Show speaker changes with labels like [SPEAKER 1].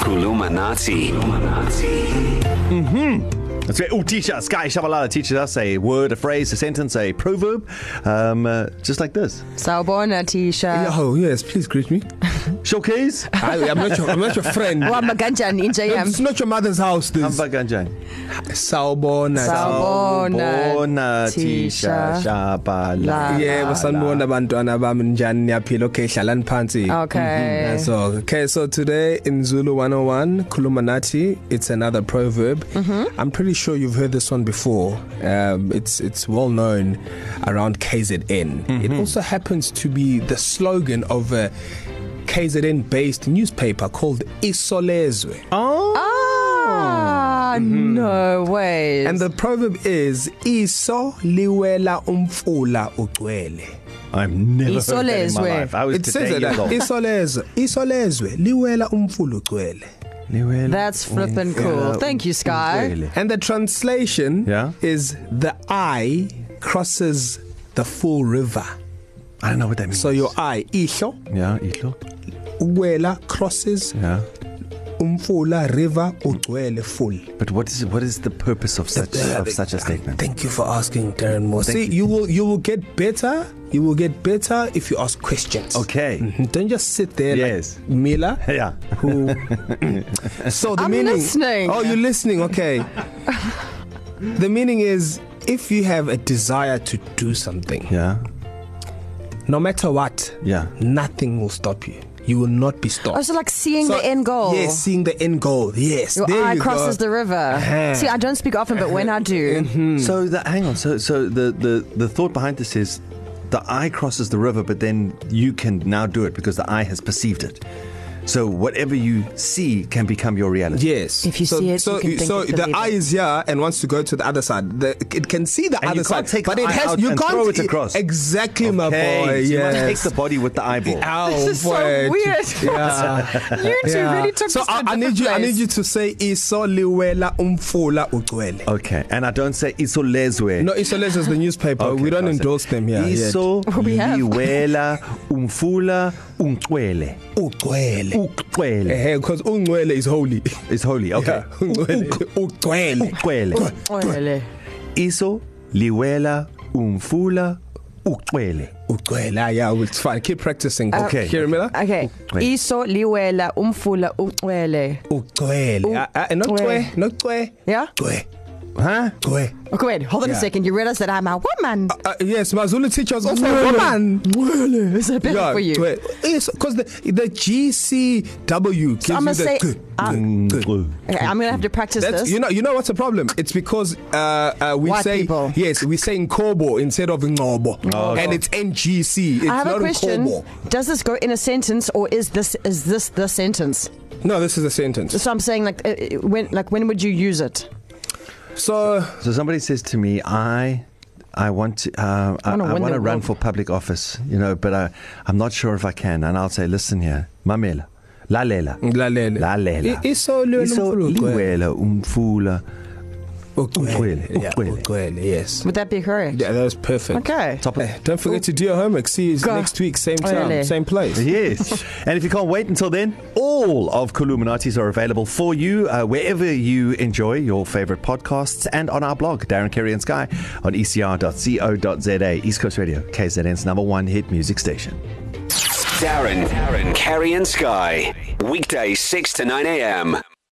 [SPEAKER 1] Kulumanati.
[SPEAKER 2] That's it. Oh, teach us. Sky Shabalala teaches us a word, a phrase, a sentence, a proverb, um, uh, just like this.
[SPEAKER 3] Sawbona Tisha.
[SPEAKER 4] Oh yes, please greet me.
[SPEAKER 2] Showcase.
[SPEAKER 4] I, I'm not your, I'm not your friend.
[SPEAKER 3] Uhamba kanjani intsha
[SPEAKER 4] It's
[SPEAKER 3] yami?
[SPEAKER 4] not your mother's house. This
[SPEAKER 2] Hamba kanjani?
[SPEAKER 4] sawubona.
[SPEAKER 3] Sawbona
[SPEAKER 2] Bona
[SPEAKER 3] Tisha
[SPEAKER 2] Tisha Shabalala.
[SPEAKER 3] La.
[SPEAKER 4] Yebo sanibona bantwana bami njani niyaphila okay hlalani phansi.
[SPEAKER 3] Okay.
[SPEAKER 4] Mhm. So okay so today in Zulu 101 khuluma nathi it's another proverb. Mm-hmm. I'm pretty sure you've heard this one before. Um it's it's well known around KZN. Mm-hmm. It also happens to be the slogan of a KZN based newspaper called Isolezwe.
[SPEAKER 3] Ah, no way.
[SPEAKER 4] Mm-hmm. And the proverb is iso liwela umfula ugcwele.
[SPEAKER 2] I've never heard that in my
[SPEAKER 3] Isolezwe.
[SPEAKER 2] life. I was
[SPEAKER 4] It says
[SPEAKER 2] Oh, today
[SPEAKER 4] it like
[SPEAKER 2] years old.
[SPEAKER 4] isolezwe, isolezwe liwela umfula ugcwele.
[SPEAKER 3] That's flippin' cool. Thank you, Sky.
[SPEAKER 4] And the translation
[SPEAKER 2] Yeah.
[SPEAKER 4] is the eye crosses the full river.
[SPEAKER 2] I don't know what that means.
[SPEAKER 4] So your eye ihlo
[SPEAKER 2] yeah, ihlo.
[SPEAKER 4] uwela crosses
[SPEAKER 2] Yeah.
[SPEAKER 4] umfula river ugcwele full.
[SPEAKER 2] But what is what is the purpose of such of such a statement?
[SPEAKER 4] Thank you for asking Darren Moore.
[SPEAKER 2] Thank
[SPEAKER 4] See,
[SPEAKER 2] you.
[SPEAKER 4] you. you will you will get better. You will get better if you ask questions.
[SPEAKER 2] Okay.
[SPEAKER 4] Mhm. Don't just sit there
[SPEAKER 2] Yes.
[SPEAKER 4] like Mila.
[SPEAKER 2] Yeah.
[SPEAKER 4] Who So the
[SPEAKER 3] I'm
[SPEAKER 4] meaning
[SPEAKER 3] listening.
[SPEAKER 4] Oh, you're listening. Okay. the meaning is if you have a desire to do something,
[SPEAKER 2] Yeah.
[SPEAKER 4] no matter what,
[SPEAKER 2] Yeah.
[SPEAKER 4] nothing will stop you. You will not be stopped.
[SPEAKER 3] Oh, so like seeing the end goal.
[SPEAKER 4] Yes, seeing the end goal. Yes.
[SPEAKER 3] Your
[SPEAKER 4] there
[SPEAKER 3] eye
[SPEAKER 4] you
[SPEAKER 3] crosses
[SPEAKER 4] go.
[SPEAKER 3] the river.
[SPEAKER 4] Uh-huh.
[SPEAKER 3] See, I don't speak often, but when I do,
[SPEAKER 4] Hmm.
[SPEAKER 2] Mm. So the hang on. So so the the the thought behind this is the eye crosses the river, but then you can now do it because the eye has perceived it. So whatever you see can become your reality.
[SPEAKER 4] Yes.
[SPEAKER 3] If you
[SPEAKER 4] so,
[SPEAKER 3] see it,
[SPEAKER 4] so
[SPEAKER 3] you can think
[SPEAKER 4] so
[SPEAKER 3] it,
[SPEAKER 4] the
[SPEAKER 3] believe
[SPEAKER 4] eye
[SPEAKER 3] it.
[SPEAKER 4] is here and wants to go to the other side. The, it can see the
[SPEAKER 2] And
[SPEAKER 4] other
[SPEAKER 2] you can't
[SPEAKER 4] side,
[SPEAKER 2] take
[SPEAKER 4] but
[SPEAKER 2] the
[SPEAKER 4] it
[SPEAKER 2] eye
[SPEAKER 4] has
[SPEAKER 2] out
[SPEAKER 4] you
[SPEAKER 2] and
[SPEAKER 4] can't
[SPEAKER 2] throw it across.
[SPEAKER 4] Exactly, my boy.
[SPEAKER 2] Hey, so you must
[SPEAKER 4] Yes.
[SPEAKER 2] take the body with the eyeball.
[SPEAKER 4] Ow,
[SPEAKER 3] This is so
[SPEAKER 4] boy.
[SPEAKER 3] weird.
[SPEAKER 4] Yeah.
[SPEAKER 3] you two
[SPEAKER 4] yeah.
[SPEAKER 3] really took
[SPEAKER 4] so
[SPEAKER 3] this to
[SPEAKER 4] I,
[SPEAKER 3] a
[SPEAKER 4] I need
[SPEAKER 3] different
[SPEAKER 4] you. I need
[SPEAKER 3] place.
[SPEAKER 4] you to say iso liwela umfula ugcwele.
[SPEAKER 2] Okay, and I don't say isolezwe.
[SPEAKER 4] No, Isolezwe is the newspaper. Okay, we don't
[SPEAKER 2] I said-
[SPEAKER 4] endorse them here.
[SPEAKER 2] Iso
[SPEAKER 3] We have.
[SPEAKER 2] liwela umfula ungcwele.
[SPEAKER 4] ugcwele.
[SPEAKER 2] Ugcwele
[SPEAKER 4] Eh, because ungcwele is holy.
[SPEAKER 2] is holy. Okay.
[SPEAKER 4] Yeah, ungcwele. Ugcwele.
[SPEAKER 2] Ugcwele.
[SPEAKER 3] Oyele.
[SPEAKER 2] Iso liwela umfula ugcwele.
[SPEAKER 4] Ugcwele. Ah, Yeah, it's fine. Keep practicing.
[SPEAKER 2] Okay.
[SPEAKER 4] Kirimela.
[SPEAKER 3] Okay.
[SPEAKER 2] Wait.
[SPEAKER 3] Iso liwela umfula ugcwele.
[SPEAKER 4] Ugcwele. Ah, ah, Not
[SPEAKER 3] Ugcwele.
[SPEAKER 4] cwe. Not cwe.
[SPEAKER 3] Yeah?
[SPEAKER 4] Cwe.
[SPEAKER 2] Huh?
[SPEAKER 4] Cwe.
[SPEAKER 3] Okay, wait. Hold on yeah. a
[SPEAKER 4] Yeah.
[SPEAKER 3] second. You realize that I'm a woman.
[SPEAKER 4] Uh, yes, my Zulu teacher was also a woman.
[SPEAKER 3] Is that better yeah, for you?
[SPEAKER 4] Yes, because the, the GCW gives
[SPEAKER 3] I'm
[SPEAKER 4] you
[SPEAKER 3] gonna
[SPEAKER 4] the
[SPEAKER 3] say-
[SPEAKER 4] g,
[SPEAKER 3] I'm-
[SPEAKER 2] Mm,
[SPEAKER 4] g, g.
[SPEAKER 3] Okay, I'm gonna have to practice
[SPEAKER 4] That's,
[SPEAKER 3] this.
[SPEAKER 4] you know, you know what's the problem? It's because uh, uh, we
[SPEAKER 3] White
[SPEAKER 4] say
[SPEAKER 3] people.
[SPEAKER 4] yes, we say Nkobo instead of Ngobo, oh, and it's NGC. It's
[SPEAKER 3] I have
[SPEAKER 4] not
[SPEAKER 3] a question.
[SPEAKER 4] Nkobo.
[SPEAKER 3] Does this go in a sentence, or is this is this the sentence?
[SPEAKER 4] No, this is a sentence.
[SPEAKER 3] So I'm saying, like, uh, uh, when like when would you use it?
[SPEAKER 4] So
[SPEAKER 2] So somebody says to me, I. I want to. Uh, I,
[SPEAKER 3] Wanna
[SPEAKER 2] I
[SPEAKER 3] win
[SPEAKER 2] want to
[SPEAKER 3] the
[SPEAKER 2] run
[SPEAKER 3] world.
[SPEAKER 2] for public office, you know, but I, I'm not sure if I can. And I'll say, listen here, mamela, lalela,
[SPEAKER 4] Lalela.
[SPEAKER 2] lalela.
[SPEAKER 4] I- iso liwela umfula ugcwele.
[SPEAKER 2] liwela umfula. Ugcwele,
[SPEAKER 4] Yeah,
[SPEAKER 2] ugcwele.
[SPEAKER 4] ugcwele, yes.
[SPEAKER 3] Would that be correct?
[SPEAKER 4] Yeah, that was perfect.
[SPEAKER 3] Okay.
[SPEAKER 2] Top of
[SPEAKER 4] Eh, Don't forget to do your homework. See you
[SPEAKER 3] Go.
[SPEAKER 4] next week, same time,
[SPEAKER 3] Olele.
[SPEAKER 4] same place.
[SPEAKER 2] Yes. and if you can't wait until then, all of Columinatis are available for you uh, wherever you enjoy your favorite podcasts and on our blog, Darren Kerry and Sky, on E ecr.co.za, East Coast Radio, KZN's number one hit music station.
[SPEAKER 1] Darren, Darren, Kerry and Sky. Weekday 6 to 9 a.m.